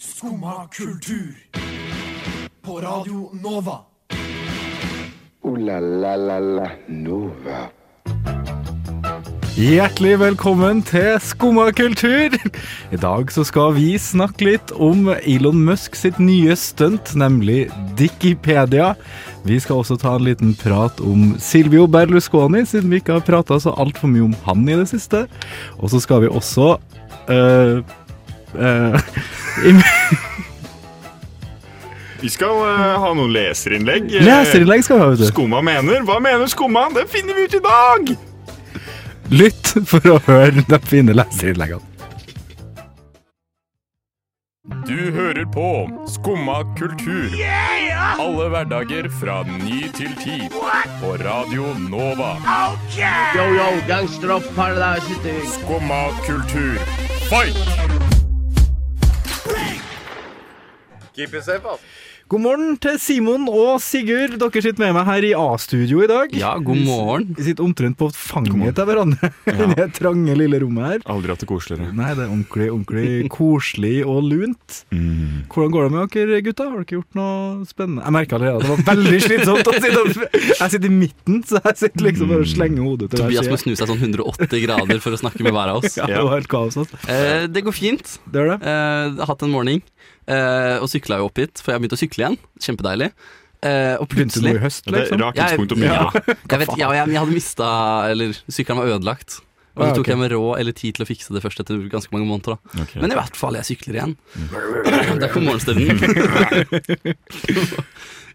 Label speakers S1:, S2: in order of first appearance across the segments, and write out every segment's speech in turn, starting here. S1: Skumma kultur. På Radio Nova.
S2: Ooh la la la la Nova.
S3: Hjertelig velkommen til Skumma kultur. I dag så skal vi snakke litt om Elon Musk sitt nye stunt, nemlig Dickipedia. Vi skal også ta en liten prat om Silvio Berlusconi, siden vi ikke har prata så altfor mye om han i det siste. Og så skal vi også øh, øh,
S4: Vi skal eh, ha noen leserinnlegg. Eh,
S3: Leserinnlegg skal vi ha, vet du.
S4: Skumma mener. Hva mener Skumma? Det finner vi ut i dag!
S3: Lytt for å høre de fine leserinnleggene.
S4: Du hører på Skumma kultur. Alle hverdager fra ny til ti. På Radio Nova.
S5: Yo, yo, gangsterrock paradise.
S4: Skumma kultur. Fight!
S3: God morgen til Simon og Sigurd. Dere sitter med meg her i A-studio i dag.
S6: Ja, god morgen.
S3: Vi sitter omtrent på fanget av hverandre i det trange lille rommet her.
S4: Aldri hatt det koseligere.
S3: Nei, det er ordentlig, ordentlig koselig og lunt.
S6: Mm.
S3: Hvordan går det med dere gutta? Har dere gjort noe spennende? Jeg merka allerede at det var veldig slitsomt. å sitte opp. Jeg sitter i midten, så jeg sitter liksom bare og slenger hodet til hver
S6: Tobias må
S3: side.
S6: snu seg sånn 180 grader for å snakke med hver av oss.
S3: Ja, det var helt kaos, altså.
S6: Eh, det går fint.
S3: Det er det.
S6: Eh, jeg har hatt en morgen eh, og sykla jo opp hit, for jeg har begynt å sykle igjen. Kjempedeilig. Eh, og
S3: Begynte nå
S6: plutselig
S3: i høst,
S4: Det er
S3: liksom.
S4: rart tidspunkt å begynne.
S6: ja, jeg vet, ja, jeg, jeg hadde mista Eller sykkelen var ødelagt. Og
S3: Ja,
S6: så tok
S3: Ah, ok.
S6: jeg meg råd eller tid til å fikse det først etter ganske mange måneder. Da.
S4: Ok.
S6: Men i hvert fall, jeg sykler igjen.
S3: Mm.
S6: Der kom morgenstøtten.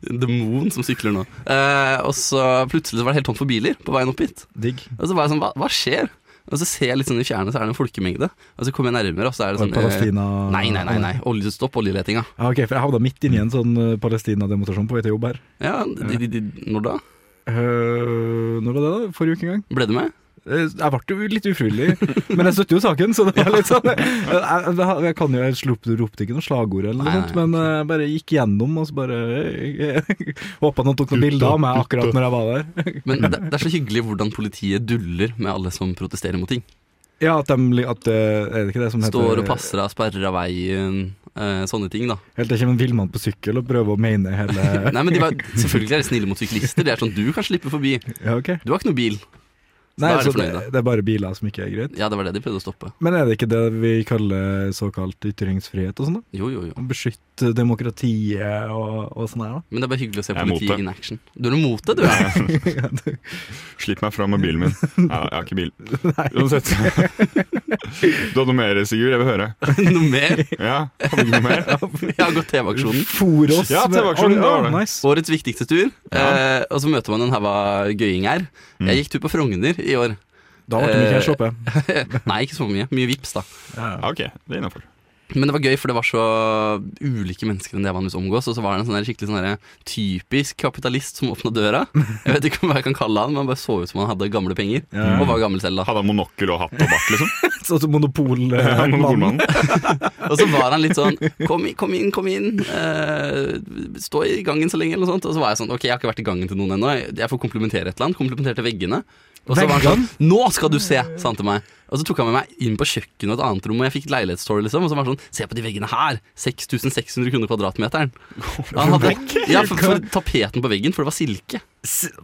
S6: Demon som sykler nå. Eh, og så plutselig så var det helt tomt for biler på veien opp hit.
S3: Digg.
S6: Og så var jeg sånn, hva, hva skjer? Og så ser jeg litt sånn i fjernet, så er det en folkemengde. Og så kommer jeg nærmere, og så er det
S3: Var det
S6: sånn
S3: Palestina-
S6: eh, Nei, nei, nei. nei. Olje, stopp oljeletinga.
S3: Ja, ok, for Jeg havna midt inni en sånn eh, Palestina-demonstrasjon på vei til jobb her.
S6: Ja, de, de, de, når da?
S3: Eh, når var det, da? Forrige uke en gang?
S6: Ble du med?
S3: Eh, Jeg ble jo litt ufrivillig, men jeg støtter jo saken, så det var litt sånn Jeg, jeg, jeg kan jo, jeg slupp, ropte ikke noe slagord eller noe
S6: Nei,
S3: sånt,
S6: nei.
S3: men eh, jeg bare gikk gjennom og så bare Håpa noen tok noen bilder av meg akkurat når jeg var der.
S6: Men det, det er så hyggelig hvordan politiet duller med alle som protesterer mot ting.
S3: Ja, at, de, li- at eh, Er det ikke det som heter
S6: Står og passer av, sperrer av veien, eh, sånne ting, da.
S3: Helt til det kommer en villmann på sykkel og prøver å mene hele
S6: Nei, men de var, Selvfølgelig er de snille mot syklister. Det er sånn du kan slippe forbi.
S3: Ja, ok.
S6: Du har ikke noe bil.
S3: Nei,
S6: da er de
S3: så det,
S6: fornøyde.
S3: det er bare biler som ikke er greit.
S6: Ja, det var det de prøvde å stoppe.
S3: Men er det ikke det vi kaller såkalt ytringsfrihet og sånn, da?
S6: Jo, jo, jo.
S3: Å Beskytte demokratiet og, og sånn her, da?
S6: Men det er bare hyggelig å se
S4: Jeg er mot
S6: politiet
S4: det.
S6: in action. Du er mot det, du. Ja.
S4: Slipp meg fra med bilen min. Ja, jeg har ikke bil. Uansett. Du hadde noe mer, Sigurd? Jeg vil høre.
S6: Noe mer?
S4: Ja, Hadde du noe mer?
S6: Jeg har gått TV-aksjonen.
S3: Forås
S4: Ja,
S3: med- Å,
S4: TV-aksjonen, det var det.
S3: nice.
S6: Årets viktigste tur. Eh, og så møter man en haug av gøyinger. Jeg gikk tur på Frogner i år.
S3: Da ble det mye
S4: Eh,
S3: cash oppe.
S6: Nei, ikke så mye. Mye vips, da.
S4: Ja, ok, det er innafor.
S6: Men det var gøy, for det var så ulike mennesker enn det jeg vanligvis omgås. Og så var det en sånn der skikkelig sånn der typisk kapitalist som åpna døra. Jeg vet ikke hva jeg kan kalle han, men han bare så ut som han hadde gamle penger.
S3: Ja.
S6: Og var gammel selv, da.
S4: Hadde han monokkel og hatt og bart, liksom?
S3: Sånn som monopol eh,
S4: Ja,
S3: mannen.
S4: Monopolmannen.
S6: Og så var han litt sånn Kom, i- kom inn, kom inn. Eh, stå i gangen så lenge, eller noe sånt. Og så var jeg sånn Ok, jeg har ikke vært i gangen til noen ennå. Jeg- Jeg får komplimentere et eller annet. Komplimenterte veggene. Og så var han sånn Nå skal du se! sa han til meg. Og så tok han med meg inn på kjøkkenet og et annet rom, og jeg fikk leilighetstour, liksom. Og så var han sånn Se på de veggene her! 6600 kroner kvadratmeteren. Han hadde, ja, for, for tapeten på veggen, for det var silke. Så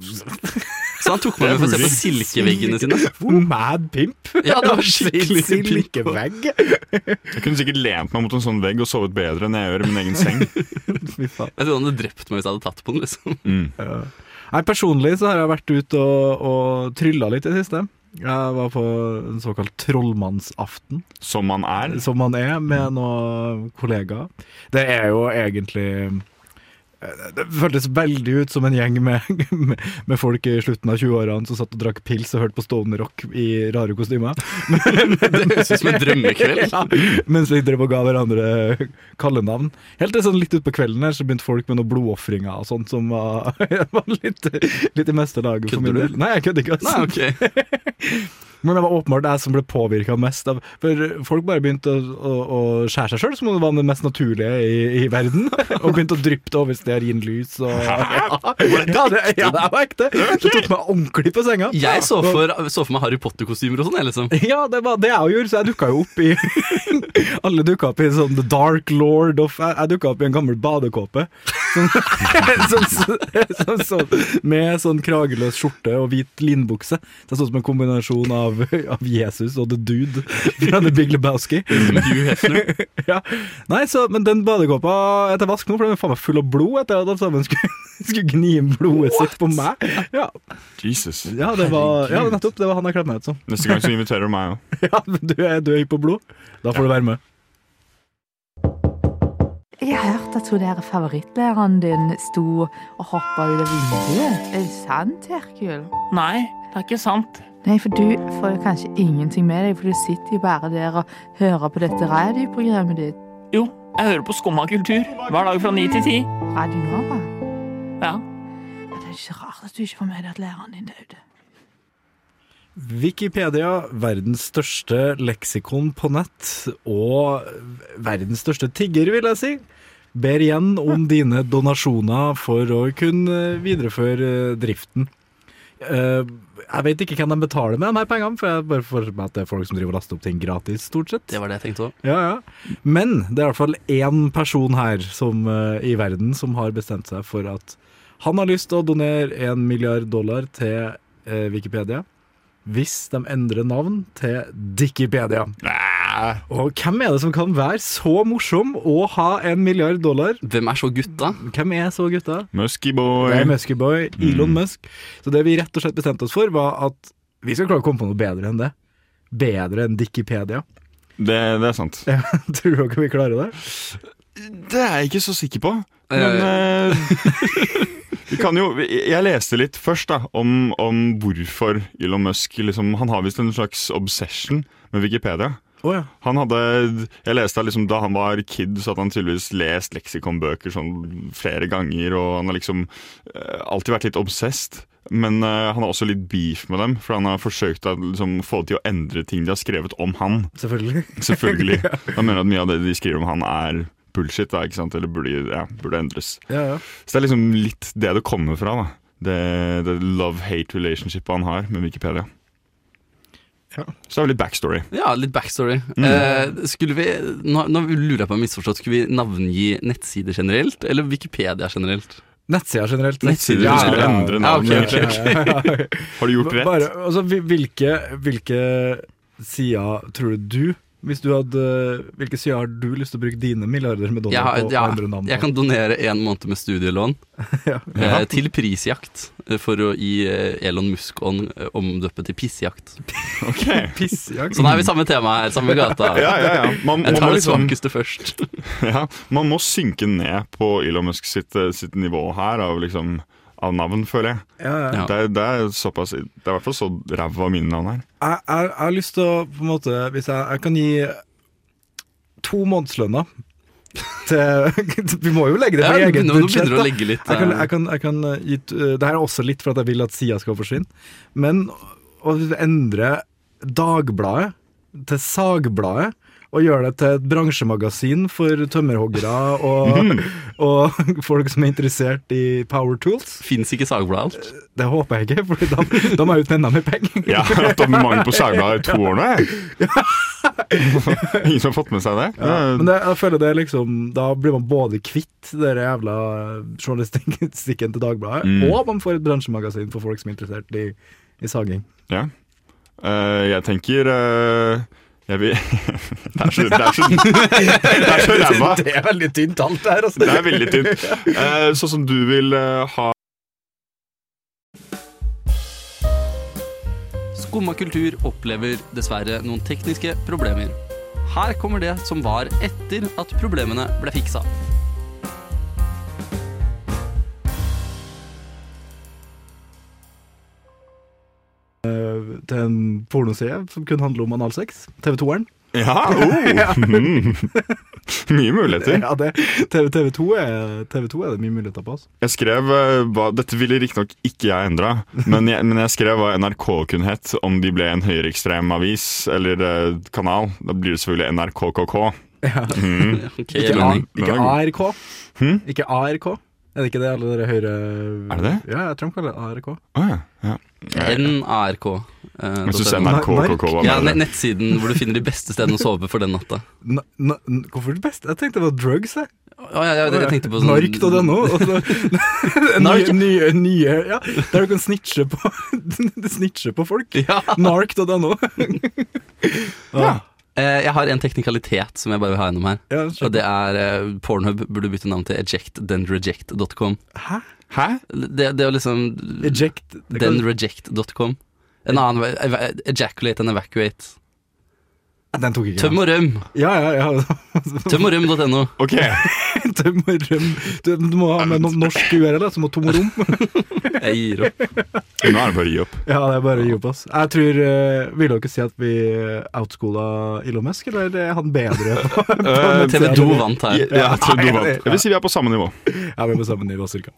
S6: han tok meg med for å se på silkeveggene sine.
S3: Hvor Oh, mad pimp?
S6: Ja, det var skikkelig silke.
S3: Silkevegg.
S4: Jeg kunne sikkert lent meg mot en sånn vegg og sovet bedre enn jeg gjør i min egen seng. Mm.
S3: Fy faen.
S6: Jeg trodde han hadde drept meg hvis jeg hadde tatt på den, liksom.
S3: Nei, personlig så har jeg vært ute og, og trylla litt i det siste. Jeg var på en såkalt trollmannsaften,
S4: Som man er.
S3: som man er,
S6: Mm.
S3: med noen kollegaer. Det er jo egentlig eh, det føltes veldig ut som en gjeng med, med, med folk i slutten av 20-årene som satt og drakk pils og hørte på stående rock i rare kostymer.
S6: Det høres ut som en drømmekveld.
S3: Ja, mens vi drev og ga hverandre kallenavn. Helt til sånn litt utpå kvelden her, så begynte folk med noen blodofringer og sånt som var, var litt, litt i meste laget for min
S6: Kødder du?
S3: del. Nei, jeg kødder ikke. ass.
S6: Nei, ok.
S3: Men det var åpenbart jeg som ble påvirka mest. Av, for folk bare begynte å, å, å skjære seg sjøl, som om det var det mest naturlige i, i verden. Og begynte å dryppe det over stearinlys og Ja, det, ja, det var ekte! Så tok meg ordentlig på senga.
S6: Jeg så for, så for meg Harry Potter-kostymer og sånn, jeg, liksom.
S3: Ja, det var det jeg også gjorde, så jeg dukka jo opp i Alle dukka opp i sånn The Dark Lord of Jeg, jeg dukka opp i en gammel badekåpe. Sånn, sånn, sånn, sånn, med sånn krageløs skjorte og hvit linbukse. Så jeg så ut som en kombinasjon av, av Jesus og The Dude fra The Big Lebowski.
S6: Hugh Hefner.
S3: Ja. Nei, så, men den badekåpa er til vask nå, for den er faen meg full av blod etter at alle sammen skulle, skulle gni inn blodet sitt på meg. Ja,
S4: Jesus.
S3: ja, det var, ja, nettopp. Det var han jeg kledde meg ut som.
S4: Neste gang så inviterer du meg òg.
S3: Ja, men du er, du er høy på blod. Da får du være med.
S7: Jeg har hørt at hun der favorittlæreren din sto og hoppa ut av vinduet. Er det sant, Herkul?
S8: Nei, det er ikke sant.
S7: Nei, for du får jo kanskje ingenting med deg, for du sitter jo bare der og hører på dette radioprogrammet ditt.
S8: Jo, jeg hører på Skumma kultur hver dag fra ni til ti.
S7: Radio Nova.
S8: Ja.
S7: Ja, Det er ikke rart at du ikke får med deg at læreren din døde.
S3: Wikipedia, verdens største leksikon på nett, og verdens største tigger, vil jeg si, ber igjen om dine donasjoner for å kunne videreføre eh, driften. Eh, Jeg vet ikke hvem de betaler med de her pengene, for jeg bare får med at det er folk som driver og laster opp ting gratis, stort sett.
S6: Det var det jeg tenkte òg.
S3: Ja, ja. Men det er i hvert fall én person her som, eh, i verden som har bestemt seg for at han har lyst til å donere en milliard dollar til eh, Wikipedia hvis de endrer navn til Dickipedia. Og hvem er det som kan være så morsom og ha en milliard dollar?
S6: Hvem er så gutta?
S3: Hvem er så gutta?
S4: Musky
S3: Det
S4: boy.
S3: er Muskyboy, Elon Musk. Så det vi rett og slett bestemte oss for, var at vi skal klare å komme på noe bedre enn det. Bedre enn Dickipedia.
S4: Det, det er sant.
S3: Tror dere vi klarer det?
S4: Det er jeg ikke så sikker på.
S6: Eh,
S4: Men
S3: eh,
S4: eh, vi kan jo Jeg leste litt først da om, om hvorfor Elon Musk liksom, Han har visst en slags obsession med Wikipedia.
S3: Å ja.
S4: Han hadde, jeg leste liksom, Da han var kid, så hadde han tydeligvis lest leksikonbøker sånn flere ganger. Og han har liksom eh, alltid vært litt obsessed. Men eh, han har også litt beef med dem, for han har forsøkt å liksom, få de til å endre ting de har skrevet om han.
S3: Selvfølgelig.
S4: Selvfølgelig. Han mener at mye av det de skriver om han, er bullshit. Da, ikke sant? Eller burde, ja, burde endres.
S3: Ja, ja.
S4: Så det er liksom litt det det kommer fra. da Det, det love-hate relationshipet han har med Wikipedia.
S3: Ja.
S4: Så det er jo litt backstory.
S6: Ja, litt backstory.
S3: Mm.
S6: Eh, skulle vi, nå, nå lurer jeg på om jeg har misforstått. Skulle vi navngi nettsider generelt, eller Wikipedia generelt?
S3: Nettsider generelt.
S4: Nettsider
S3: Ja,
S4: du
S3: ja,
S4: skulle
S3: ja.
S4: endre
S6: Ja,
S4: navn.
S6: ok, ok,
S4: Har du gjort rett?
S3: Bare, altså, hvil- hvilke, hvilke sider tror du du hvis du hadde, Hvilke sider har du lyst til å bruke dine milliarder med
S6: Jeg,
S3: dollar
S6: har,
S3: på? og
S6: ja,
S3: andre navn på?
S6: jeg kan donere en måned med studielån eh, til prisjakt, eh, for å gi eh, Elon Musk-ånd eh, omdøpe til pissjakt.
S4: Ok.
S3: Pissjakt.
S6: Så nå er vi samme tema her, samme gata.
S4: Ja, ja, ja. Man, man, må
S6: Jeg tar det
S4: liksom,
S6: svakeste først.
S4: ja, sånn- man må synke ned på Elon Musk sitt, eh, sitt nivå her av, liksom, av navn, føler jeg.
S3: Ja, ja.
S6: Ja.
S4: Det, er- det er såpass Det er i hvert fall så ræva mine navn her.
S3: Jeg, jeg, jeg har lyst til å på en måte, Hvis jeg, jeg kan gi to månedslønner til Vi må jo legge det på
S6: Ja,
S3: eget
S6: nå- nå
S3: budsjett.
S6: begynner du å
S3: da.
S6: legge litt,
S3: Jeg kan,
S6: eh.
S3: jeg kan, jeg kan gi, t- eh, det her er også litt for at jeg vil at sida skal forsvinne. Men å endre Dagbladet til Sagbladet og gjøre det til et bransjemagasin for tømmerhoggere og, og folk som er interessert i power tools.
S6: Fins ikke Sagbladet alt?
S3: Det håper jeg ikke, for da, da må jeg ut med enda mer penger.
S4: Jeg har hatt abonnement på Sagbladet i to år nå, jeg. Ingen som har fått med seg det?
S3: Ja, men det, jeg føler det er liksom Da blir man både kvitt den jævla journalistikken til Dagbladet, og man får et bransjemagasin for folk som er interessert i, i saging.
S4: Ja. Eh, jeg tenker eh, jeg vil Det er så Det er så, det er så ræva.
S3: er veldig tynt alt det her, altså.
S4: Det er veldig tynt. Eh, sånn som du vil eh, ha
S6: Skumma kultur opplever dessverre noen tekniske problemer. Her kommer det som var etter at problemene ble fiksa.
S3: Eh, Til en pornoside som kun handler om analsex. TV2-eren.
S4: Ja, oh. mm. Mye muligheter.
S3: Ja, det, TV, TV, 2 er, TV 2 er det mye muligheter på. Altså.
S4: Jeg skrev eh, hva, Dette ville riktignok ikke jeg endra, men, jeg- men jeg skrev hva NRK kunne hett om de ble en høyreekstrem avis eller eh, kanal. Da blir det selvfølgelig NRKKK. Mhm.
S6: Ok,
S3: Ikke,
S6: jeg
S3: A,
S6: mener.
S3: ikke
S4: Den er god.
S3: ARK. Ikke ARK. Er det ikke det alle dere høyre...
S4: Hm? Er det
S3: Ja, jeg tror de kaller det ARK.
S4: Å ja. ja. Jeg
S6: NARK.
S4: syns
S6: Uh,
S4: NRKKK var
S6: ja, ne-
S4: bedre.
S6: nettsiden hvor du finner de beste stedene å sove for den natta.
S3: N n n- hvorfor det best? Jeg tenkte det var drugs, jeg.
S6: Å, ja, ja, jeg tenkte på sånn
S3: Nark.no. og så- Nye, nye, nye ja, Der du kan snitche på, du snitcher på folk.
S6: Ja.
S3: Nark.no.
S6: Eh, Jeg har en teknikalitet som jeg bare vil ha gjennom her.
S3: Ja,
S6: Og det er eh, Pornhub burde bytte navn til ejectdenreject.com.
S4: Hæ?
S6: Det, det å liksom
S3: Eject.
S6: Denreject.com. En annen vei- eva- Ejaculate and evacuate.
S3: Den tok ikke jeg.
S6: Tøm og røm!
S3: Ja, ja, ja.
S6: Tøm og røm.no.
S4: Ok,
S3: Tøm og røm. Du, du må ha med no norsk URL, altså. Må tom og rom.
S6: Jeg gir opp.
S4: nå er det bare å gi opp.
S3: Ja, det er bare å gi opp, ass. Jeg tror eh, Vil dere si at vi eh, outschoola Elon Musk, eller er han bedre? på- på
S4: Eh,
S6: TV
S3: nettsidene?
S6: 2 vant her.
S4: Ja, jeg tror du vant. Jeg vil si vi er på samme nivå.
S3: Ja, vi er på samme nivå, cirka.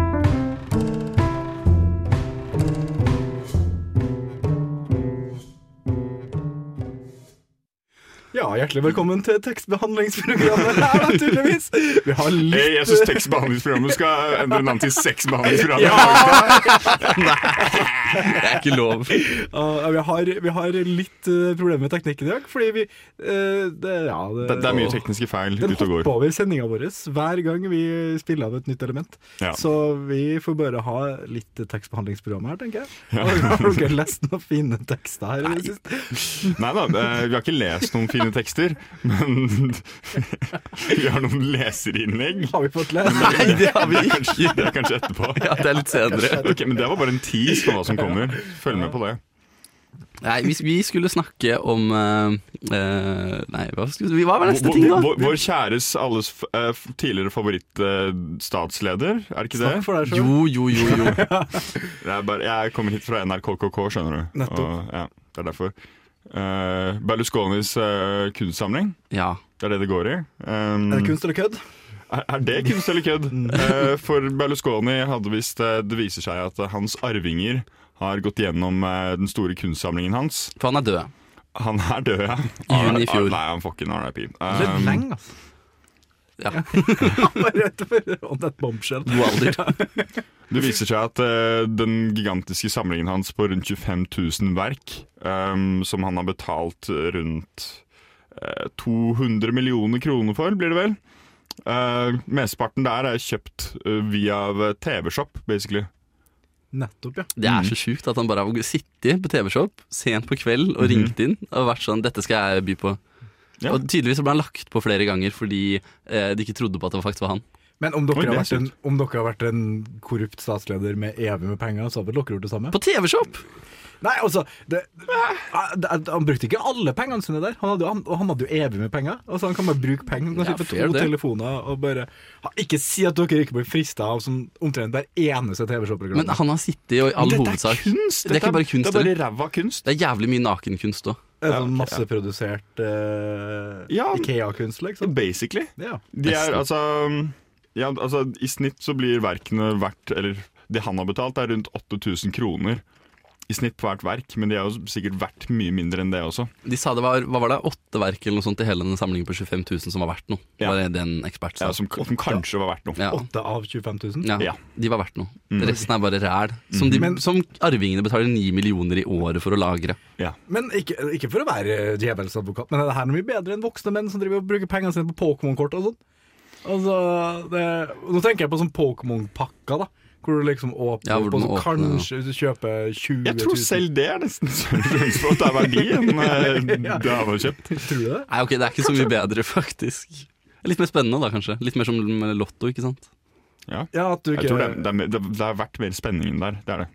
S3: Ja, hjertelig velkommen til tekstbehandlingsprogrammet her, naturligvis. Vi har litt
S4: Jeg syns tekstbehandlingsprogrammet skal endre navn til sexbehandlingsprogrammet.
S6: Det er ikke lov.
S3: eh, Ja, vi, har, vi har litt eh, problemer med teknikken i dag, fordi vi eh, det, ja, det,
S4: Det, det er mye tekniske feil
S3: Den
S4: ute og
S3: hopper
S4: går.
S3: over sendinga vår hver gang vi spiller av et nytt element.
S4: Ja.
S3: Så vi får bare ha litt tekstbehandlingsprogram her, tenker jeg.
S4: Ja.
S3: Og Har dere lest noen fine tekster her i det siste?
S4: Nei da, eh, vi har ikke lest noen fine tekster, men vi har noen leserinnlegg.
S3: Har vi fått lest?
S6: Nei, det har vi ikke.
S4: Kanskje, det er kanskje etterpå.
S6: Ja, det er litt senere.
S4: Ok, men Det var bare en tease på hva som kommer. Følg med på det.
S6: Nei, vi, vi skulle snakke om eh, eh, Nei, hva, skulle, vi- hva var neste
S4: Vår,
S6: ting, da?
S4: vår, vår kjæres alles f- eh, f- tidligere favorittstatsleder, er ikke det?
S3: Takk for deg sjøl.
S6: Jo, jo, jo, jo.
S4: det er bare, jeg kommer hit fra NRKKK, skjønner du.
S3: Nettopp.
S4: Og, ja, det er derfor. Eh, Berlusconis eh, kunstsamling,
S6: Ja.
S4: det er det det går i. Um,
S3: Er det kunst eller kødd?
S4: Er, er det kunst eller kødd?
S6: Mm.
S4: Eh, for Berlusconi hadde visst eh, Det viser seg at eh, hans arvinger har gått gjennom eh, den store kunstsamlingen hans.
S6: For han er død.
S4: Han er død, ja. Ah,
S6: I juni i fjor.
S4: Nei, han får ikke en RIP.
S3: Det er
S4: Um,
S3: lenge, altså.
S6: Ja.
S3: Bare rett over on that bombshell.
S6: God alder.
S4: det viser seg at eh, den gigantiske samlingen hans på rundt 25 000 verk, ehm, som han har betalt rundt eh, 200 millioner kroner for, blir det vel. Eh, mesteparten der er kjøpt eh, via eh, TV-shop, basically.
S3: Nettopp, ja.
S6: Det er så sjukt at han bare har sittet på TV-Shop sent på kveld og ringt inn og vært sånn 'Dette skal jeg by på'.
S4: Mhm. Ja.
S6: Og tydeligvis så ble han lagt på flere ganger fordi eh, de ikke trodde på at det faktisk var han.
S3: Men om dere,
S4: Oi, det
S3: har
S4: er
S3: vært en, om dere har vært en korrupt statsleder med evig med penger, så hadde dere gjort det samme?
S6: På TV-Shop!
S3: Nei, altså det, det, Han brukte ikke alle pengene sine der. Han hadde, jo- han, og han hadde jo evig med penger. Altså Han kan bare bruke penger. Han kan
S6: Ja,
S3: kjøpe
S6: fair
S3: to
S6: det.
S3: telefoner og bare ha, Ikke si at dere ikke blir frista av sånn omtrent hver eneste
S6: Men
S3: TV-showprogram.
S6: han har sittet i all
S4: Dette
S6: hovedsak
S4: er kunst!
S6: Det er ikke bare kunst,
S4: Det er bare
S6: eller?
S4: ræva kunst.
S6: Det er jævlig mye nakenkunst òg.
S3: Sånn masseprodusert eh,
S4: Ja.
S3: Ikea-kunst, liksom.
S4: Basically.
S3: Ja.
S4: De er
S6: Nesten.
S4: altså Ja, altså i snitt så blir verkene verdt Eller det han har betalt, er rundt 8000 kroner. I snitt på hvert verk, men de er jo sikkert verdt mye mindre enn det også.
S6: De sa det var hva var det, åtte verk eller noe sånt i hele den samlingen på 25 000 som var verdt noe.
S4: Ja.
S6: Var det det en ekspert sa.
S4: Ja, som, som kanskje var verdt noe.
S6: Ja.
S3: Åtte av 25 000.
S6: Ja,
S4: Ja. Mm.
S6: De var verdt noe. Resten er bare ræl. Som, de,
S3: Men-
S6: som arvingene betaler ni millioner i året for å lagre.
S4: Ja.
S3: Men ikke, ikke for å være djevelens advokat, men er det her noe mye bedre enn voksne menn som driver og bruker pengene sine på Pokémon-kort og sånn? Altså, det, Nå tenker jeg på sånn Pokémon-pakka, da. Hvor du liksom åpner
S6: Ja, hvor du
S3: på
S6: må
S3: sånn,
S6: åpne, ja.
S3: Kanskje hvis du kjøper 20 000
S4: Jeg tror selv det er nesten større for at det er verdi enn eh, det han har kjøpt.
S3: Tror du det?
S6: Nei, ok, det er ikke så mye bedre, faktisk. Litt mer spennende, da, kanskje. Litt mer som med Lotto, ikke sant.
S4: Ja.
S3: Ja, at du ikke
S4: Jeg tror det, er- det, er, mer- det, det er verdt mer spenning enn der. Det er det.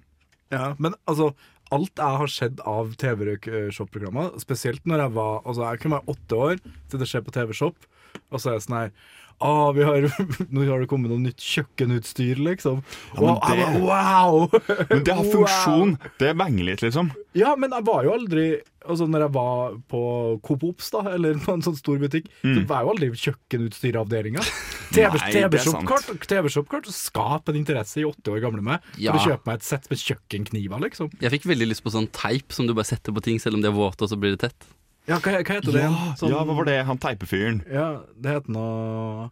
S3: Ja, men altså Alt jeg har sett av TV-shop-programmer, spesielt når jeg var Altså, jeg kunne være åtte år, sitte og se på TV-shop, og så er jeg sånn her ah, vi har, nå har det kommet noe nytt kjøkkenutstyr, liksom.
S4: men
S3: og jeg bare,
S4: det-
S3: wow!
S4: Men det har
S3: Wow.
S4: funksjon. Det er banglitt, liksom.
S3: Ja, men jeg var jo aldri Altså når jeg var på Coop Ops da Eller på en sånn stor butikk Så var jeg jo aldri i kjøkkenutstyravdelinga
S4: Mm. Nei, det er
S3: TV-shopkart TV-shopkart Skap en interesse i åtte år gamle meg
S6: Ja.
S3: For å kjøpe meg et sett med kjøkkenkniver liksom
S6: Jeg fikk veldig lyst på sånn teip som du bare setter på ting, selv om de er våte, og så blir det tett.
S3: Ja, hva, hva heter det?
S4: Ja,
S3: igjen? Sånn-
S4: ja, hva var det? Han teipefyren.
S3: Ja, det heter noe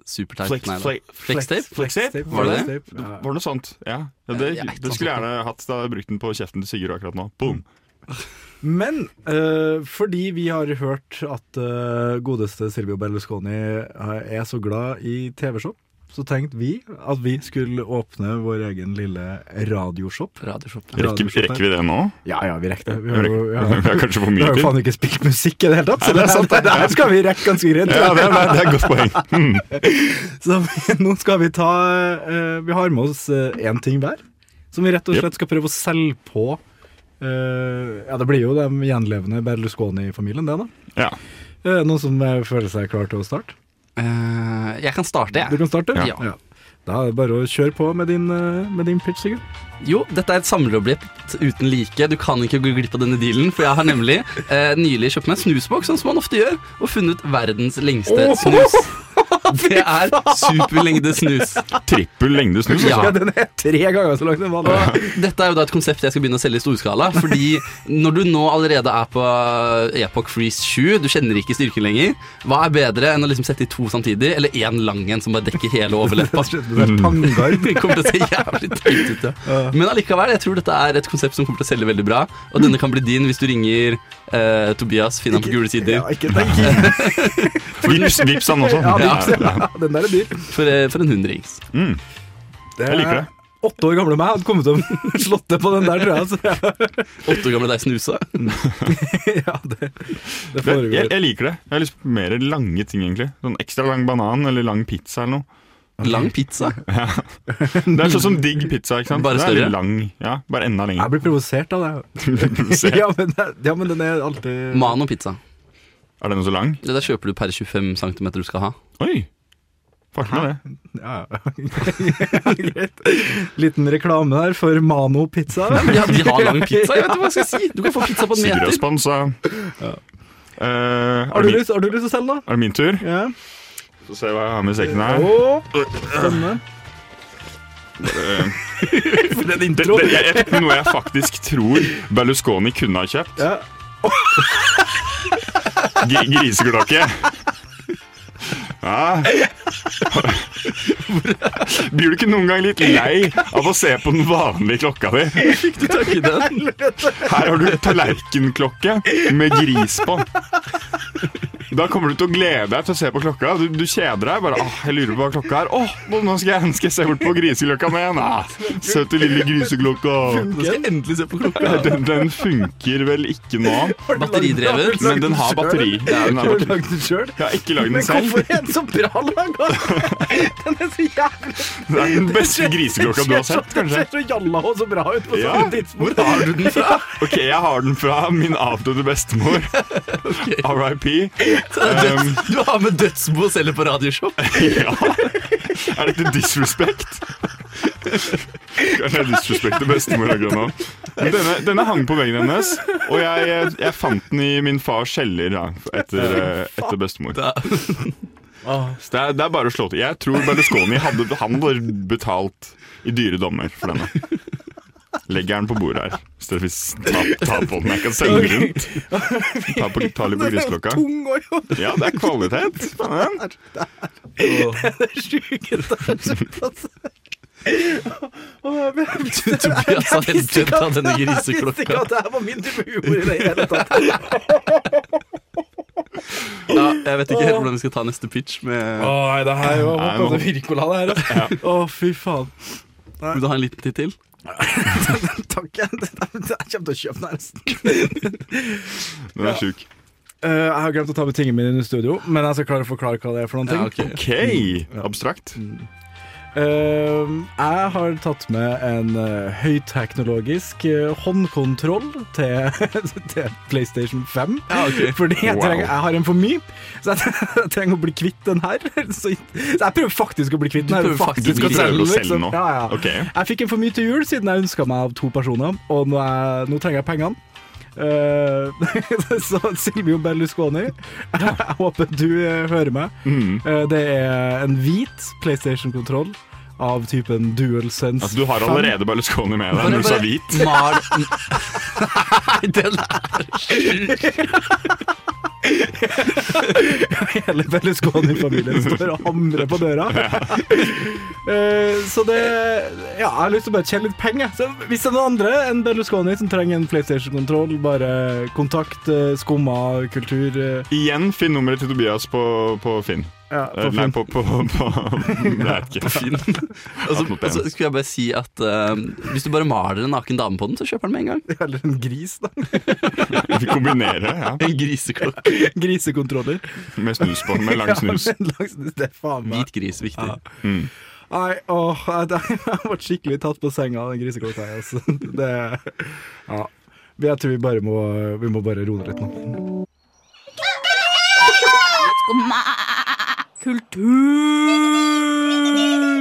S6: Superteip.
S4: Flex,
S6: nei da.
S4: flex,
S6: Flextape?
S4: Flextape?
S3: Flextape,
S6: Var det det?
S3: flextape,
S4: var
S3: ja.
S4: det noe sånt? Ja. ja det,
S6: Ja, jeg
S4: det
S6: vet ikke.
S4: skulle jeg gjerne hatt. Da hadde jeg brukt den på kjeften til Sigurd akkurat nå. Boom.
S3: Men eh, fordi vi har hørt at eh, godeste Silvio Berlusconi eh, er så glad i TV-shop, så tenkte vi at vi skulle åpne vår egen lille radioshop.
S6: Radioshop.
S3: Ja,
S4: Rekker,
S3: det er
S4: rekker vi det nå?
S3: Ja, ja, vi rekker det. Vi
S4: Vi
S3: har jo vi har-
S4: har kanskje for
S3: vi
S4: mye
S3: har jo
S4: tid?
S3: faen ikke spilt musikk i det hele tatt, så det er sant. Det her skal vi rekke ganske greit.
S4: Ja, det er, det er et godt poeng. Hmm.
S3: Så vi, nå skal vi ta eh, Vi har med oss én ting hver, som vi rett og
S4: Jep.
S3: slett skal prøve å selge på. eh, ja, det blir jo de gjenlevende Berlusconi-familien, det, da.
S4: Ja.
S3: Eh, Noen som eh, føler seg klar til å starte?
S6: Eh, jeg kan starte, jeg.
S3: Du kan starte?
S6: Ja.
S3: Da er det bare å kjøre på med din, eh, med din pitch, Sigurd.
S6: Jo, dette er et samlerobjekt uten like. Du kan ikke gå glipp av denne dealen, for jeg har nemlig eh, nylig kjøpt meg en snusboks, sånn som man ofte gjør, og funnet verdens lengste snus. Det er superlengde snus.
S4: Trippel lengde snus.
S6: Ja.
S4: Altså.
S3: den er tre ganger så lang som vanlig.
S6: Og dette er jo da et konsept jeg skal begynne å selge i storskala. Fordi når du nå allerede er på eh, Epoch Freeze 7, du kjenner ikke styrken lenger, hva er bedre enn å liksom sette i to samtidig, eller én lang en som bare dekker hele overleppa?
S3: Pangard.
S6: Det kommer til å se jævlig teit ut, ja. Men allikevel, jeg tror dette er et konsept som kommer til å selge veldig bra. Og denne kan bli din hvis du ringer eh, Tobias, finn ham på gule sider.
S3: Ja, ikke tenk. Ja,
S4: Vips, vips han også.
S3: det
S4: Ja,
S3: er-
S4: Hmm.
S3: ja, den der er dyr.
S6: For, eh, for en hundrings.
S3: Det
S4: Jeg liker det.
S3: er Åtte år gamle meg hadde kommet til å slått det på den der, tror jeg. Så, ja.
S6: Åtte år gamle deg snusa.
S3: ja, det, det
S4: Det, jeg,
S3: foregår.
S4: jeg liker det. Jeg har lyst på mer lange ting, egentlig. Sånn Ekstra lang banan eller lang pizza eller noe.
S6: Lang pizza.
S4: Det er sånn som digg pizza. ikke sant?
S6: Bare
S4: Det er
S6: større?
S4: litt lang, ja, Bare enda
S3: Jeg
S4: lenger.
S3: blir provosert av det.
S4: Se.
S3: Ja, men, det- ja, men den er alltid
S6: Mano-pizza.
S4: Er den så lang?
S6: Det der kjøper du per 25 cm du skal ha.
S4: Oi! Farten av det.
S3: ja, ja. Greit. Liten reklame der for Mano pizza.
S6: Ja, de har lang pizza, jeg vet ikke hva jeg skal si. Du kan få pizza på en
S4: Sigurd og
S6: meter.
S4: sponsa.
S3: Har
S4: er,
S3: du
S4: det min,
S3: lyst, har du lyst til å selge, da?
S4: er det min tur?
S3: Ja.
S4: Så se hva jeg har med i sekken her.
S3: Å, spennende.
S4: Det, det, jeg, jeg, noe jeg faktisk tror Berlusconi kunne ha kjøpt.
S3: Ja.
S4: Gri- Griseklokke. Ja. Ah. Blir du ikke noen gang litt lei av å se på den vanlige klokka di?
S6: Du tar ikke den.
S4: Her har du tallerkenklokke med gris på. Da kommer du til å glede deg til å se på klokka. Du, du kjeder deg. bare, åh, 'Jeg lurer på hva klokka er.' Åh, nå- nå skal jeg, skal jeg se bort på griseklokka mi igjen.' Ah, Søte lille griseklokka.
S6: Nå skal jeg endelig se på klokka.
S4: Ja, Den, den funker vel ikke nå,
S6: Batteridrevet.
S4: men den har batteri. Ja, den har
S3: Har du
S4: batteri.
S3: lagd den sjøl?
S4: Jeg har ikke lagd den
S3: Men
S4: selv.
S3: hvorfor er den så bra laga? Den er så jævlig
S4: Det er den beste griseklokka du har sett,
S3: Den
S4: kanskje.
S3: ser så jalla og så bra ut på
S4: Ja.
S3: sånne tidspunkt.
S4: Hvor har du den fra? Ok, jeg har den fra min avdøde bestemor. RIP. Um,
S6: Du har med dødsbo og selger på Radioshop.
S4: ja. Er dette disrespect? Kanskje jeg disrespekter bestemor akkurat nå. Men denne, denne hang på veggen hennes, og jeg, jeg fant den i min fars kjeller da, etter, eh, etter bestemor.
S6: Da-
S4: Så det er, det er bare å slå til. Jeg tror Berlusconi hadde, han hadde betalt i dyre dommer for denne. Legger den på bordet her. I stedet for å ta, ta på den. Jeg kan sende den rundt. Ta, på, ta litt på griseklokka.
S3: Tung og jo,
S4: Ja, det er kvalitet. Spennende.
S3: det er sjukt. altså. Å, jeg visste-
S6: Tobias har helt dødd av denne
S3: Jeg visste ikke
S6: griseklokka.
S3: at det her var min type humor i det hele tatt.
S6: Ja, jeg vet ikke helt hvordan vi skal ta neste pitch. Med,
S3: Nei, det her var
S4: Nei, nå-
S3: altså Virkola, det her. altså. Å, fy faen.
S6: vil du ha en liten tid til?
S3: Takk. Jeg jeg kommer til å kjøpe den her.
S4: Den er sjuk.
S3: Eh, jeg har glemt å ta med tingene mine inn i studio, men jeg skal klare å forklare hva det er for noen ting.
S6: Ja, ok.
S4: Ok, abstrakt.
S3: Ehm, jeg har tatt med en eh, høyteknologisk eh, håndkontroll til, til PlayStation 5. Fordi jeg,
S4: Wow.
S3: trenger, jeg har en for mye, så jeg, jeg trenger å bli kvitt den her. Så, så jeg prøver faktisk å bli kvitt den her.
S6: prøver faktisk
S3: Faktisk å
S6: å bli-
S3: selge den,
S4: Du prøver å selge
S3: liksom.
S4: den nå?
S3: Ja, ja.
S4: Ok.
S3: Jeg fikk en for mye til jul siden jeg ønska meg av to personer, og nå, er, nå trenger jeg pengene. Eh, så Silvio Berlusconi, jeg håper du eh, hører meg.
S4: Mm.
S3: Eh, det er en hvit PlayStation-kontroll av typen DualSense.
S4: Altså, du har
S3: 5.
S4: allerede Berlusconi med deg
S6: Bare-
S4: når du sa
S6: bare
S4: hvit.
S6: Mal Nei, den er
S3: Hele Berlusconi-familien står og hamrer på døra. Eh, så det Ja, jeg har lyst til å bare tjene litt penger. Så hvis det er noen andre enn Berlusconi som trenger en PlayStation-kontroll, bare kontakt eh, Skumma kultur. eh,
S4: Igjen, finn nummeret til Tobias på, på Finn.
S3: Ja,
S4: Eh, Nei, på, på, på, Jeg vet ikke.
S6: fin. Og så- og så skulle jeg bare si at eh, hvis du bare maler en naken dame på den, så kjøper den med en gang.
S3: Eller en gris, da.
S4: Vi kombinerer ja.
S6: En griseklokke.
S3: Grisekontroller.
S4: med snus på. Med lang snus.
S3: Ja, men langs- det er faen meg
S6: Hvit gris, viktig.
S4: Mm.
S3: Nei, åh, jeg, jeg, ble skikkelig tatt på senga av den griseklokka her, altså. Det Ja. Men Jeg tror vi bare må, vi må bare roe ned litt nå.
S7: Skumma kultur.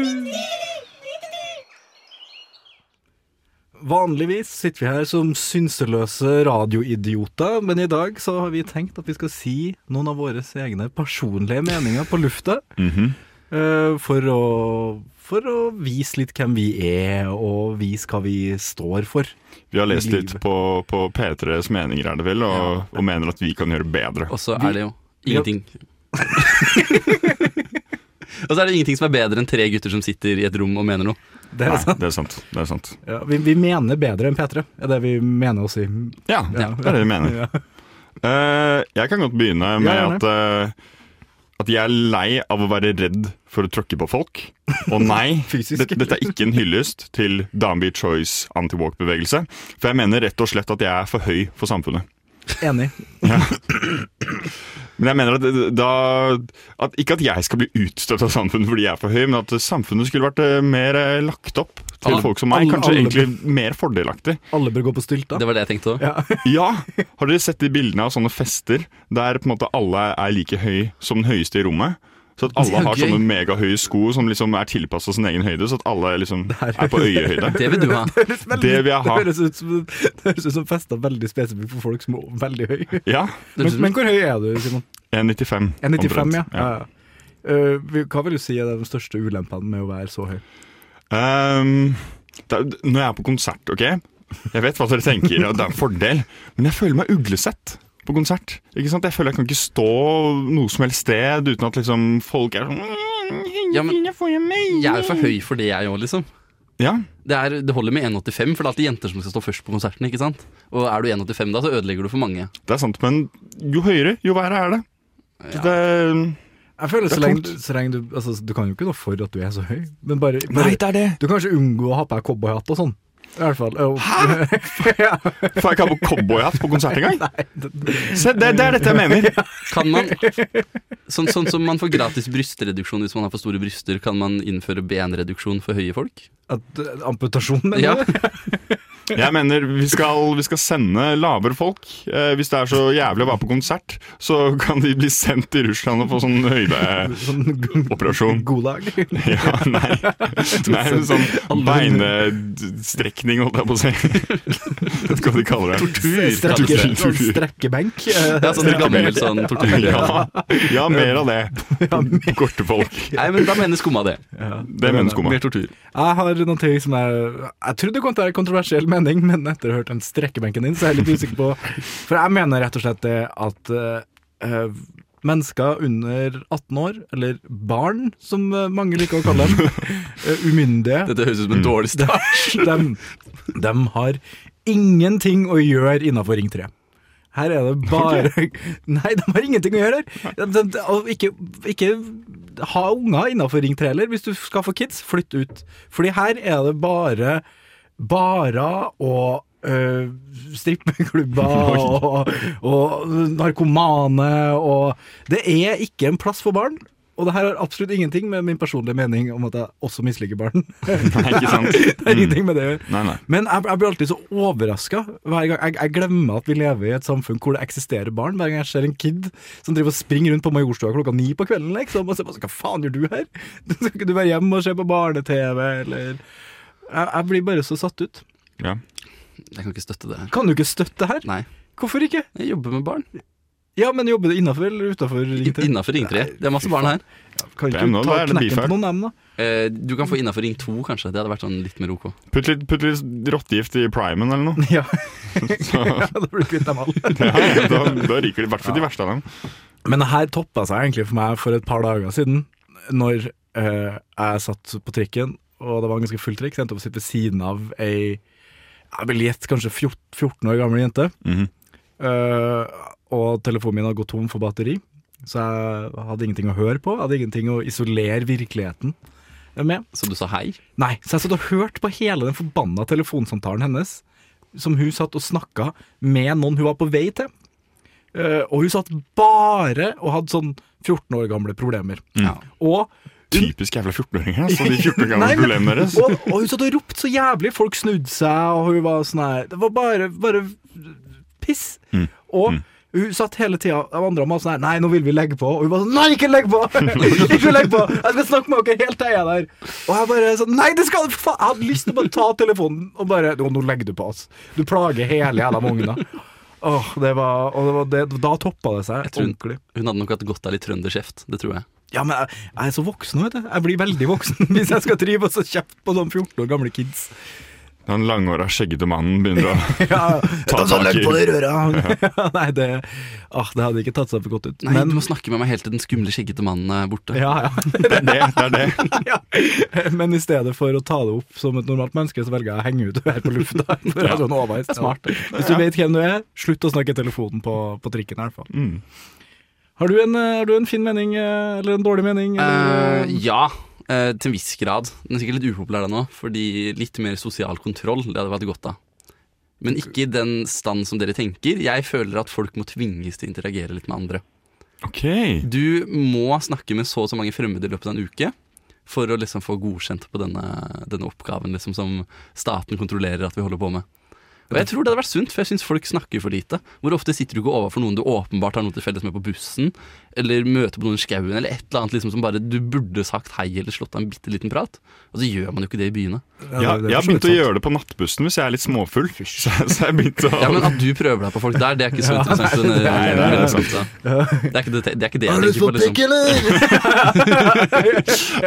S3: Vanligvis sitter vi her som synseløse radioidioter, men i dag så har vi tenkt at vi skal si noen av våre egne personlige meninger på lufta.
S4: Mhm.
S3: eh, for å for å vise litt hvem vi er, og vise hva vi står for.
S4: Vi har lest litt
S3: Liv.
S4: på, på P3s meninger, er det vel, og, og mener at vi kan gjøre bedre.
S6: Og så er det jo ingenting. Og så er det ingenting som er bedre enn tre gutter som sitter i et rom og mener noe.
S3: Det er
S4: Nei,
S3: sant.
S4: det er sant. Det er sant.
S3: Ja, vi, vi mener bedre enn P3, er det vi mener å si.
S4: Ja, det er det vi mener.
S3: Ja.
S4: Eh, jeg kan godt begynne med
S3: gjerne.
S4: at, eh, at jeg er lei av å være redd for å tråkke på folk. Og nei,
S3: Fysisk.
S4: dette- dette er ikke en hyllest til Danby Choys anti-walk-bevegelse. For jeg mener rett og slett at jeg er for høy for samfunnet.
S3: Enig.
S4: Men jeg mener at da at Ikke at jeg skal bli utstøtt av samfunnet fordi jeg er for høy, men at samfunnet skulle vært eh, mer eh, lagt opp til
S6: Alle-
S4: folk som meg.
S3: alle-
S4: Kanskje
S3: alle-
S4: egentlig mer fordelaktig.
S3: Alle bør gå på stylta.
S6: Det var det jeg tenkte òg.
S3: Ja.
S4: Ja! Har dere sett de bildene av sånne fester der på en måte alle er like høy som den høyeste i rommet? Så at
S6: Det er
S4: alle har
S6: gøy.
S4: sånne megahøye sko som liksom er tilpassa sin egen høyde, så at alle liksom er på øyehøyde.
S6: Det vil du ha.
S4: Det vil jeg
S3: Det
S4: ha.
S3: høres ut som, det høres ut som fester veldig spesifikt for folk som er veldig høye.
S4: Ja.
S3: Men, men hvor høy er du, Simon?
S4: 1,95.
S3: 1,95, ja.
S4: omtrent.
S3: ja. ja. Eh, vi- hva vil du si er de største ulempene med å være så høy?
S4: Ehm, det er- når jeg er på konsert, ok? Jeg vet hva dere tenker, og det er en fordel, men jeg føler meg uglesett på konsert. Ikke sant? Jeg føler jeg kan ikke stå noe som helst sted uten at liksom folk er sånn
S6: Ja, men-
S4: «Jeg får jo meg».
S6: Jeg er jo for høy for det, jeg òg, liksom.
S4: Ja,
S6: Det, er, det holder med 1,85, for det er alltid jenter som skal stå først på konserten. ikke sant? Og er du 1,85 da, så ødelegger du for mange.
S4: det er sant, men jo høyere, jo verre er det. Så det
S3: Jeg føler
S4: Det
S3: så
S4: er
S3: lenge,
S4: tungt.
S3: så lenge du altså, Du kan jo ikke noe for at du er så høy, men bare, bare
S4: er det.
S3: Du kan kanskje unngå å ha på deg cowboyhatt og sånn. I hvert fall. eh,
S4: Får jeg ikke ha på cowboyhatt på konsert engang? Se, det, det er dette jeg mener.
S6: Kan man, sånn, sånn som man får gratis brystreduksjon hvis man har for store bryster, kan man innføre benreduksjon for høye folk?
S3: At, eh, amputasjon, eh, mener
S6: Ja,
S3: du?
S4: Jeg mener vi skal, vi skal sende lavere folk. Eh, hvis det er så jævlig å være på konsert, så kan de bli sendt til Russland og få sånn høyde...
S3: Sånn
S4: Operasjon.
S3: Godlag.
S4: Ja, nei. nei men sånn beinstrekning, holdt jeg på å si. Vet ikke hva de kaller det.
S3: Strekke, sånn
S4: Tortur.
S3: strekkebenk.
S6: ja sånn gammel sånn tortur.
S4: Ja, ja, mer av det. Korte folk.
S6: Nei, men da mener skumma det.
S4: Det mener skumma.
S6: Mer tortur.
S3: Jeg har noen ting som jeg Jeg trodde det kom til å være en kontroversiell mening, men etter å ha hørt den strekkebenken din, så er jeg litt usikker på For jeg mener rett og slett det at eh, eh, mennesker under 18 år, eller barn, som eh, mange liker å kalle dem, eh, umyndige
S6: Dette høres ut som en dårlig start.
S3: de, har ingenting å gjøre innafor Ring 3. Her er det bare Nei, de har ingenting å gjøre her! De, de, og ikke, ikke ha unger innafor Ring 3 heller. Hvis du skal få kids, flytt ut. Fordi her er det bare barer og øh, strippeklubber og, og narkomane og Det er ikke en plass for barn. Og det her har absolutt ingenting med min personlige mening om at jeg også misliker barn.
S4: Nei, ikke sant?
S3: Det er ingenting med det å gjøre.
S4: Mm. Nei, nei.
S3: Men jeg, jeg blir alltid så overraska hver gang jeg, jeg glemmer at vi lever i et samfunn hvor det eksisterer barn. Hver gang jeg ser en kid som driver og springer rundt på Majorstua klokka ni på kvelden, liksom, og så bare sånn, Hva faen gjør du her? Skal ikke du være hjemme og se på barne-TV, eller jeg, jeg blir bare så satt ut.
S4: Ja.
S6: Jeg kan ikke støtte det her.
S3: Kan du ikke støtte det her?
S6: Nei,
S3: Hvorfor ikke?
S6: jeg jobber med barn.
S3: Ja, men jobber du innafor eller utafor Ring 3?
S6: Innafor Ring 3. Det er masse barn her.
S3: Kan
S4: Damn,
S3: ikke
S4: nå
S3: du ta
S4: er det
S3: knekken
S4: beef her.
S3: på noen av dem, da?
S6: Eh, Du kan få innafor Ring 2, kanskje. Det hadde vært sånn litt mer OK.
S4: Putt litt, putt litt rottegift i primen eller noe.
S3: Ja,
S4: Så,
S3: da blir du kvitt dem alle.
S4: ja, da, da ryker det i hvert fall de verste av dem.
S3: Men det her toppa seg egentlig for meg for et par dager siden, når eh, jeg satt på trikken, og det var en ganske full trikk, så jeg endte opp å sitte ved siden av ei jeg vil gjette kanskje 14, 14 år gammel jente.
S4: Mhm.
S3: Eh, og telefonen min hadde gått tom for batteri, så jeg hadde ingenting å høre på. Hadde ingenting å isolere virkeligheten med.
S6: Så du sa hei?
S3: Nei, så jeg satt og hørte på hele den forbanna telefonsamtalen hennes, som hun satt og snakka med noen hun var på vei til. Eh, og hun satt bare og hadde sånn 14 år gamle problemer.
S6: Ja.
S3: Og
S4: Typisk jævla 14-åringer. Altså, de 14 gamle
S3: Nei, men-
S4: problemene deres.
S3: og, og hun satt og ropte så jævlig, folk snudde seg, og hun var sånn her Det var bare, bare piss.
S4: Mm.
S3: Og hun satt hele tida og andre var sånn her Nei, nå vil vi legge på. Og hun var sånn Nei, ikke legg på! ikke legg på! Jeg skal snakke med dere helt til jeg er der. Og jeg bare sånn Nei, det skal du faen Jeg hadde lyst til å bare ta telefonen og bare Nå, nå legger du på oss. Du plager hele jævla mogna. Åh, det var, og det var det, Da toppa det seg
S6: Jeg tror-
S3: ordentlig.
S6: Hun hadde nok hatt godt av litt trønderkjeft. Det tror jeg.
S3: Ja, men jeg, jeg er så voksen nå, vet du. Jeg blir veldig voksen hvis jeg skal drive og så kjeft på sånn 14 år gamle kids.
S4: Den langhåra, skjeggete mannen begynner å
S3: Ja,
S4: Ta
S3: ta
S4: tak i-
S3: på det røret. Nei, det, ah, det hadde ikke tatt seg for godt ut.
S6: Nei,
S3: Men-
S6: du må snakke med meg helt til den skumle, skjeggete mannen er borte.
S3: ja, ja.
S4: Det er det. det, er det.
S3: Men i stedet for å ta det opp som et normalt menneske, så velger jeg å henge ut her på lufta. For det er sånn overveis. Smart. Hvis du vet hvem du er, slutt å snakke i telefonen på, på trikken i hvert fall.
S4: Mm.
S3: Har du, en, eh, har du en fin mening, eh, eller en dårlig mening? Eller,
S6: Eh, ja, eh, til en viss grad. Den er sikkert litt upopulær den òg, fordi litt mer sosial kontroll det hadde vært godt av. Men ikke i den stand som dere tenker. Jeg føler at folk må tvinges til å interagere litt med andre.
S4: Ok.
S6: Du må snakke med så og så mange fremmede i løpet av en uke for å liksom få godkjent på denne, denne oppgaven liksom som staten kontrollerer at vi holder på med. Og jeg tror det hadde vært sunt, for jeg syns folk snakker for lite. Hvor ofte sitter du ikke overfor noen du åpenbart har noe til felles med på bussen, eller møter på noen i skauen, eller et eller annet liksom som bare du burde sagt hei eller slått av en bitte liten prat, og så gjør man jo ikke det i byene.
S4: Jeg,
S3: det er
S4: jeg har
S3: for så vidt
S4: begynt å
S3: sant.
S4: gjøre det på nattbussen hvis jeg er litt småfull. Så, så jeg begynte å
S6: Ja, Men at du prøver deg på folk der, det er ikke så interessant. for den-
S4: nei, nei, nei, sant.
S6: det er ikke det, det, er ikke det jeg tenker på. Liksom.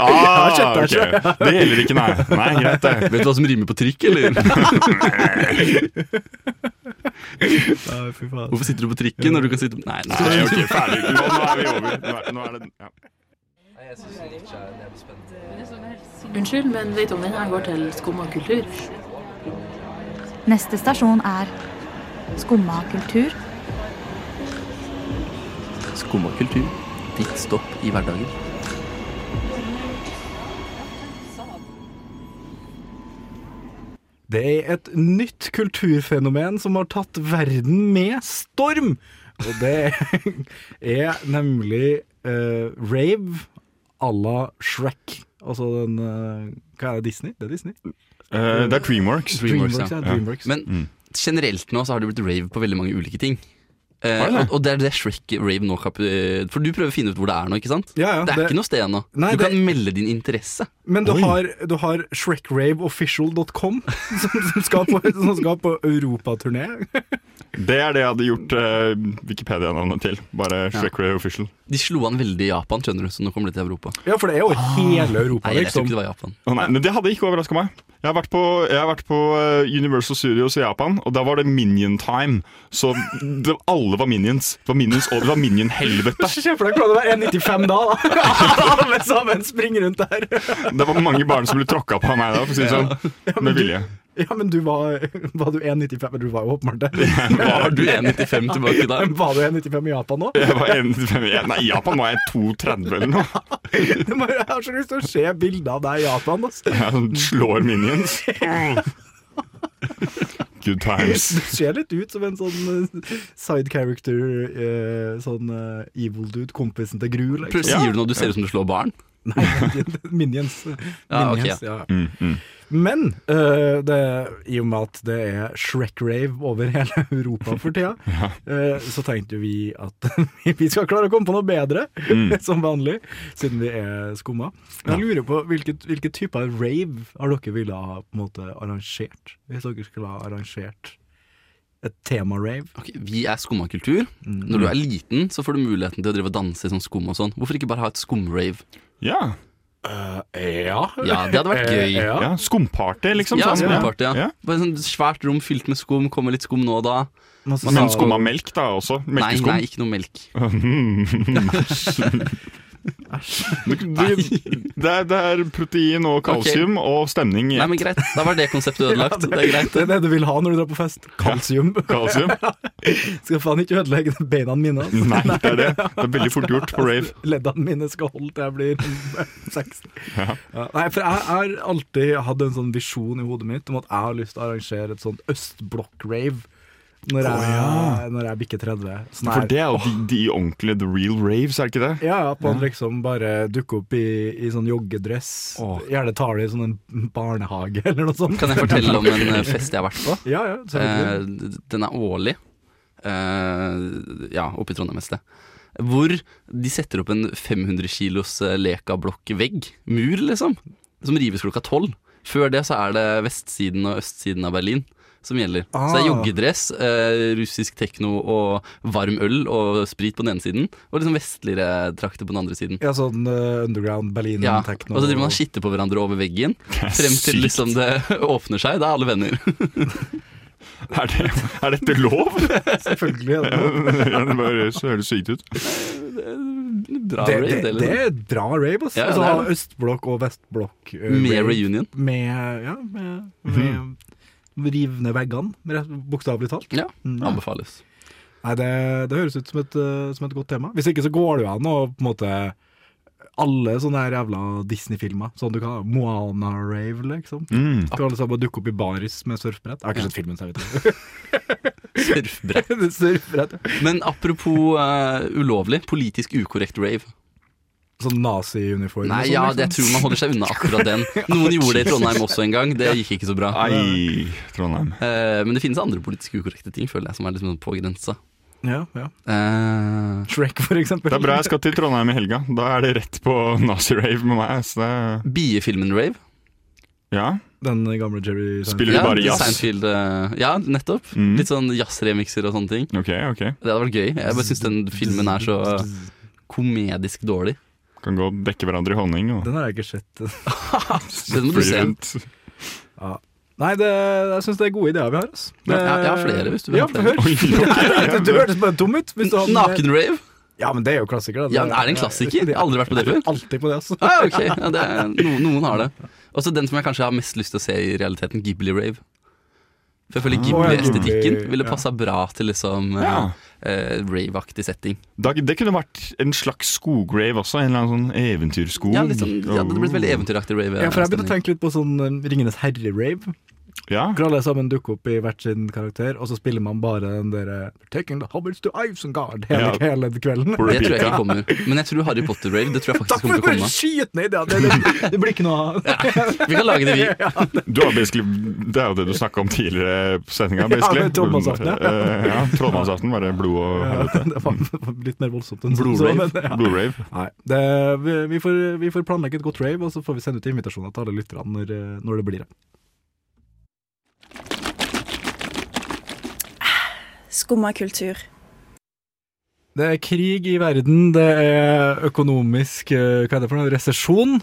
S4: ah,
S3: Jeg har kjøpt
S4: ok. Det gjelder ikke, nei. Nei, Greit, det.
S6: Vet du hva som rimer på trikk, eller?
S3: Ja, fy faen.
S6: Hvorfor sitter du på trikken når du kan sitte Nei, nei.
S4: Nei, ok, ferdig. Nå, nå er vi over. Nå er, nå er det, ja.
S9: Unnskyld, men Leitonen her går til skum og kultur.
S10: Neste stasjon er Skumma kultur.
S6: Skum og kultur. Ditt stopp i hverdagen.
S3: Det er et nytt kulturfenomen som har tatt verden med storm. Og det er nemlig eh, rave à la Shrek. Altså den eh, Hva er det, Disney? Det er Disney?
S4: Eh, det er Dreamworks.
S6: Dreamworks,
S3: ja.
S6: ja.
S3: Dreamworks.
S6: Men generelt nå så har det blitt rave på veldig mange ulike ting. Eh,
S4: Har det?
S6: og, og det er det Shrek-rave nå kap- eh, For du prøver å finne ut hvor det er nå, ikke sant?
S3: Ja, ja,
S6: det
S3: det-
S6: er ikke noe sted ennå.
S3: Nei,
S6: Du
S3: det-
S6: kan melde din interesse.
S3: Men du
S4: Oi.
S3: har, du har shrekraveofficial.com, som, som skal på, som skal på europaturné.
S4: Det er det jeg hadde gjort eh, Wikipedia-navnet til. Bare Shrek Ray Official.
S6: De slo an veldig i Japan, skjønner du, så nå kommer det til Europa.
S3: Ja, for det er jo hele Europa,
S6: Ah. Nei, jeg tror
S3: liksom.
S6: ikke sånn. det var Japan.
S4: Å nei, men Det hadde ikke overraska meg. Jeg har vært på, jeg har vært på eh, Universal Studios i Japan, og da var det Minion Time. Så det, alle var Minions. Det var Minions, og det var Minion-helvete.
S3: Se for deg hvordan det var 1,95 da, da. Alle sammen springer rundt der.
S4: Det var mange barn som ble tråkka på av meg da, for å si det sånn. Med vilje.
S3: Ja, men du var, var du 1,95? Men du var jo åpenbart det.
S6: Var du 1,95 tilbake da?
S3: Men var du 1,95 i Japan nå?
S4: Jeg var 1,95. Nei, i Japan var jeg 2,30 eller noe.
S3: Det må- Jeg har så lyst til å se bilder av deg i Japan. ass.
S4: Jeg sånn slår Minions. good times.
S3: Du ser litt ut som en sånn eh, side character, eh, sånn eh, evil dude, kompisen til Gru.
S6: Prøv,
S3: Liksom.
S6: sier du når du ser ut som du slår barn?
S3: Nei, minions.
S6: Ja, ok,
S3: Minions, ja.
S4: Mm, mm.
S3: Men eh, det, i og med at det er Shrek-rave over hele Europa for tida, eh, så tenkte vi at vi skal klare å komme på noe bedre,
S4: mm.
S3: som vanlig, siden vi er skumma. Jeg lurer på hvilket, hvilke typer rave har dere ville ha på en måte arrangert? Hvis dere skulle ha arrangert et tema-rave?
S6: Ok, Vi er skumma kultur. Når du er liten, så får du muligheten til å drive og danse i sånn skum og sånn. Hvorfor ikke bare ha et skumrave?
S4: Ja.
S3: Ja.
S6: Ja, det hadde vært gøy.
S3: Eh, ja.
S4: ja. Skumparty, liksom.
S6: Ja,
S4: sånn.
S6: skumparty, ja.
S4: Ja.
S6: Bare sånn svært rom fylt med skum, kommer litt skum nå og da.
S3: Masse
S4: Men
S3: sal-
S4: skumma melk, da, også.
S6: Nei,
S4: Melkeskum.
S6: nei, ikke noe melk.
S4: Du- Det er, det er protein og kalsium og stemning i
S6: Nei, men greit. Da var det konseptet ødelagt. Det er greit.
S3: Det er det du vil ha når du drar på fest. Kalsium.
S4: kalsium.
S3: Skal faen ikke ødelegge beina mine. altså.
S4: Nei, det er det. Det er veldig fort gjort på rave.
S3: Leddene mine skal holde til jeg blir 60. Ja, Nei, for jeg har alltid hatt en sånn visjon i hodet mitt om at jeg har lyst til å arrangere et sånt østblokk-rave når, jeg- når jeg bikker 30. Sånn her-
S4: For det er jo de, de ordentlige the real raves, er det ikke det?
S3: ja, ja, at man liksom bare dukker opp i, i sånn joggedress.
S4: Åh.
S3: Gjerne tar det i sånn en barnehage eller noe sånt.
S6: Kan jeg fortelle om en eh, fest jeg har vært på?
S3: Ja, ja,
S6: Eh,
S3: selvfølgelig.
S6: d- den er årlig. Eh, ja, oppe i Trondheim et sted. Hvor de setter opp en 500 kilos eh, lekablokk-vegg. Mur, liksom. Som rives klokka tolv. Før det så er det vestsiden og østsiden av Berlin som gjelder. Så det er
S3: Ah.
S6: joggedress, eh, russisk tekno og varm øl og sprit på den ene siden. Og liksom vestligere trakter på den andre siden.
S3: ja, sånn eh, underground Berlin
S6: Ja, og
S3: techno.
S6: så driver man og skitter på hverandre over veggen.
S4: er
S6: Frem til
S4: sykt.
S6: liksom det åpner seg. Da er alle venner.
S4: Er, det, er dette lov?
S3: Selvfølgelig. er det noe.
S4: Ja, det bare så høres sykt ut.
S6: Bra
S3: Det,
S6: rave,
S3: det,
S6: det,
S3: det,
S6: liksom.
S3: er et bra rave, altså.
S6: Ja,
S3: Og så
S6: det er
S3: ha østblokk og vestblokk. eh,
S6: Med
S3: rave.
S6: reunion.
S3: med, ja, med, med rive ned veggene, rett- bokstavelig talt.
S6: Ja,
S3: Mm.
S6: anbefales.
S3: Nei, det, det høres ut som et, eh, som et godt tema. Hvis ikke så går det jo an å på en måte alle sånne her jævla Disney-filmer. Sånn du kan ha Moana-rave, liksom.
S4: Mm.
S3: Skal alle sammen dukke opp i baris med surfbrett? Jeg har ikke sett filmen, så jeg vet ikke.
S6: Surfbrett.
S3: Det er surfbrett. ja.
S6: Men apropos eh, ulovlig, politisk ukorrekt rave.
S3: Sånn nazi-uniform og
S6: Nei,
S3: sånn,
S6: ja,
S3: liksom.
S6: det, jeg tror man holder seg unna akkurat den. Noen gjorde det i Trondheim også en gang, det gikk ikke så bra.
S4: Ei, Trondheim.
S6: Eh, men det finnes andre politisk ukorrekte ting, føler jeg, som er liksom på grensa.
S3: Ja, ja.
S6: Eh,
S3: Shrek, for eksempel.
S4: Det er bra jeg skal til Trondheim i helga. Da er det rett på nazi-rave med meg. Så det,
S6: Biefilmen Rave.
S4: ja.
S3: Den gamle Jerry Seinfeld.
S4: Spiller du bare jazz?
S6: Seinfeld, eh, ja, nettopp.
S4: Mm.
S6: Litt sånn jazzremikser og sånne ting.
S4: Ok, ok.
S6: Det hadde vært gøy. Jeg bare syns den filmen er så eh, komedisk dårlig.
S4: Kan gå og dekke hverandre i honning. Og.
S3: Den har jeg ikke sett.
S6: Den må du se.
S3: Nei, det, jeg syns det er gode ideer vi har. ass. Eh,
S6: Ja, jeg- jeg har flere, hvis du vil
S3: ja,
S6: ha flere.
S3: hør. Nei, Du hørtes bare dum ut. Hvis du hadde-
S6: Naken-rave.
S3: Ja, men det er jo klassiker. da.
S6: Ja, er det en klassiker? Jeg har aldri vært på det før.
S3: Alltid på det, altså.
S6: Ah, ok, ja, det er, noen, noen har det. Og så den som jeg kanskje har mest lyst til å se i realiteten, Ghibli Rave. For jeg føler Ghibli-estetikken
S3: Ah, Ghibli,
S6: ville
S3: ja.
S6: passa bra til liksom eh,
S4: Ja.
S6: eh, rave-aktig setting.
S4: Da, det kunne vært en slags skograve også. En eller annen sånn eventyrskog.
S6: Ja, litt sånn, ja, det hadde blitt veldig eventyraktig rave.
S3: Ja, for jeg begynte å
S6: stemning.
S3: tenke litt på sånn um, Ringenes herre-rave.
S4: Ja.
S3: Hvor alle sammen dukker opp i hvert sin karakter, og så spiller man bare den derre Taking the hobbits to Isengard hele,
S4: Ja.
S3: hele kvelden.
S4: På
S6: Det tror jeg
S4: repeat,
S6: ikke
S4: ja.
S6: kommer. Men jeg tror Harry Potter-rave det tror jeg
S3: Takk
S6: faktisk
S3: for
S6: kommer til å
S3: den
S6: komme.
S3: skytende ideen! Det, det, det blir ikke noe av.
S6: Vi kan lage det, vi.
S4: Du har basically, det er jo det du snakka om tidligere på sendinga. basically.
S3: Ja, med trollmannsaften, ja.
S4: Eh, ja. Trollmannsaften, bare blod og helvete.
S3: Det var litt mer voldsomt enn som så,
S4: Blod-rave.
S3: men, ja.
S4: Blod-rave.
S3: Nei, det, vi, vi, får, vi får planlegge et godt rave, og så får vi sende ut invitasjoner til alle lytterne når, eh, når det blir det.
S10: Skumma kultur.
S3: Det er krig i verden, det er økonomisk eh, Hva er det for noe? Resesjon.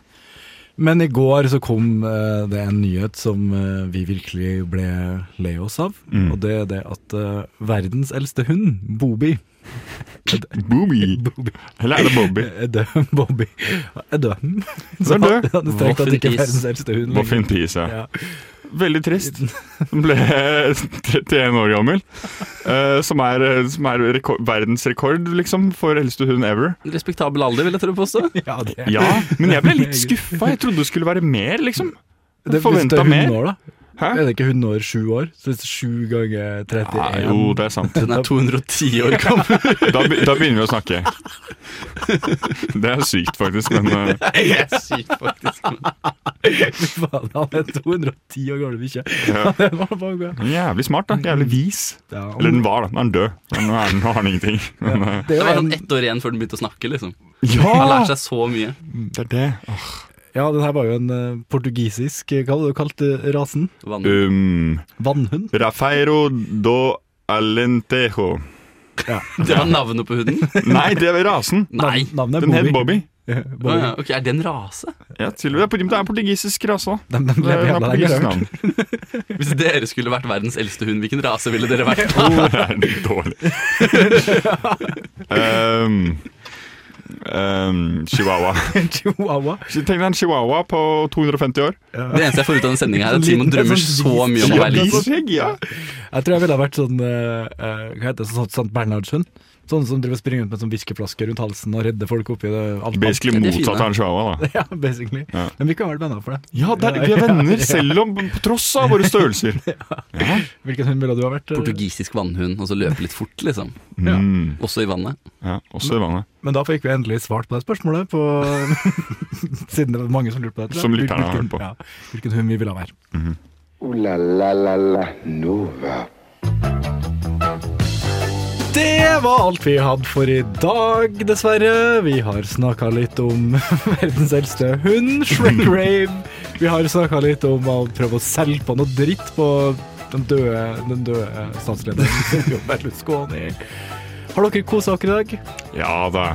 S3: Men i går så kom eh, det en nyhet som eh, vi virkelig ble lei oss av.
S4: Mm.
S3: Og det er det at eh, verdens eldste hund, Bobi
S4: Booby.
S3: Bobi.
S4: Eller er det Bobby?
S3: Er død, Bobby. Er død. Så
S4: er død.
S3: det er strengt tatt
S6: Voff in
S3: ikke
S6: peace.
S3: verdens eldste hund.
S4: Buffy and Peace, ja.
S3: Ja.
S4: Veldig trist. Den ble 31 år gammel. eh, som er, som er rekord, verdensrekord, liksom, for eldste hund ever.
S6: Respektabel alder, vil jeg tro påstå.
S3: Ja, det,
S4: Ja, men jeg ble litt skuffa. Jeg trodde det skulle være mer, liksom.
S3: det
S4: forventet
S3: forventa
S4: mer.
S3: mer. Da.
S4: Hæ?
S3: Er det ikke 100 år 7 år? Så det er 7 ganger 31
S4: Nei, jo, det er sant.
S6: Den er 210 år gammel.
S4: Da, be- da begynner vi å snakke. Det er sykt, faktisk. Men eh,
S6: Det er sykt, faktisk.
S3: Fy faen, han er 210 år gammel bikkje.
S4: Ja.
S3: Det var bare bra.
S4: den er jævlig smart, da. Jævlig vis.
S3: Ja,
S4: Eller den var, da. Nå er den død. Men Nå, er den, nå har den ingenting. Men, eh,
S3: det er
S6: Det var
S3: jo en-
S6: sånn ett år igjen før den begynte å snakke, liksom. Han
S4: ja!
S6: lærte seg så mye.
S4: Det er det. Åh.
S3: Ja, den her var jo en eh, portugisisk eh, Hva var det du kalte rasen?
S6: Vann.
S4: Um,
S3: Vannhund?
S4: Rafeiro do Alentejo.
S6: Det var navnet på hunden?
S4: Nei, det er rasen.
S6: Nei.
S3: Navn- Navnet er
S4: Den het
S3: Bobby.
S4: Bobby.
S6: Å
S3: Bobby.
S6: ja, ok, Er det en rase?
S4: Ja, til, det er det er en portugisisk rase, da.
S3: De, de
S4: Det
S3: lever
S4: er en
S3: jævla lenge.
S4: portugisisk
S3: det har jeg hørt.
S4: navn.
S6: Hvis dere skulle vært verdens eldste hund, hvilken rase ville dere vært?
S4: Det er litt dårlig. um, um, chihuahua.
S3: Chihuahua.
S4: Tenk deg en chihuahua på 250 år.
S6: Det eneste jeg får ut av den sendinga, er at Simon drømmer så mye om å være liten.
S4: Chihuahua, ja.
S3: Jeg tror jeg ville ha vært sånn eh, eh, Hva heter det, sånn St. Bernhardshund? Sånne som driver og springer rundt med sånn whiskeflaske rundt halsen og redder folk oppi det. Alt,
S4: Basically
S6: Ja, de er
S4: motsatt
S6: fine.
S4: av en chihuahua, da.
S3: Ja, basically.
S4: Ja.
S3: Men vi kunne vært venner for det.
S4: Ja, der, vi er venner, selv om på tross av våre størrelser.
S3: Hvilken hund ville du ha vært? eh?
S6: Portugisisk vannhund, og så løpe litt fort, liksom.
S4: Mm,
S6: Også i vannet.
S4: ja, også i vannet.
S3: Men da fikk vi endelig svart på det spørsmålet, på siden det var mange som lurte på det. tror jeg.
S4: Som lytterne har
S3: Hvilken-
S4: hørt på.
S3: Ja, hvilken hund vi ville ha vært.
S2: Ooh la la la la Nova.
S3: Det var alt vi hadde for i dag, dessverre. Vi har snakka litt om verdens eldste hund, Shrek Rave. Vi har snakka litt om å prøve å selge på noe dritt på den døde, den døde statslederen John Berlusconi. Har dere kosa dere i dag?
S4: Ja da.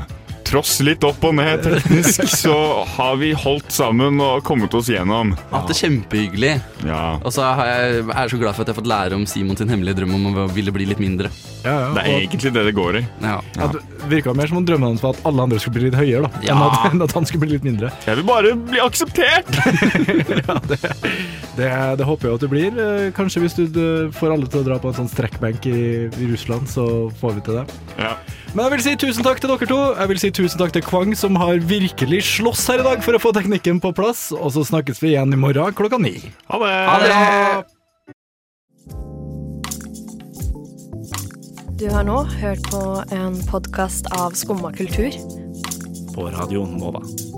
S4: Tross litt opp og ned teknisk, så har vi holdt sammen og kommet oss gjennom.
S6: Hatt det kjempehyggelig.
S4: Ja.
S6: Og så har jeg, er jeg så glad for at jeg har fått lære om Simon sin hemmelige drøm om å ville bli litt mindre.
S3: Ja,
S4: Det er egentlig det det går i.
S6: Ja.
S3: ja, det virka mer som om drømmen hans var at alle andre skulle bli litt høyere, da, enn,
S6: Ja.
S3: at, enn at han skulle bli litt mindre.
S4: Jeg vil bare bli akseptert!
S3: Det, det håper jeg at du blir. Eh, Kanskje hvis du eh, får alle til å dra på en sånn strekkbenk i, i Russland, så får vi til det.
S4: Ja.
S3: Men jeg vil si tusen takk til dere to. Jeg vil si tusen takk til Kvang, som har virkelig slåss her i dag for å få teknikken på plass. Og så snakkes vi igjen i morgen klokka ni.
S4: Ha det!
S10: Du har nå hørt på en podkast av Skumma kultur.
S8: På radioen Nova.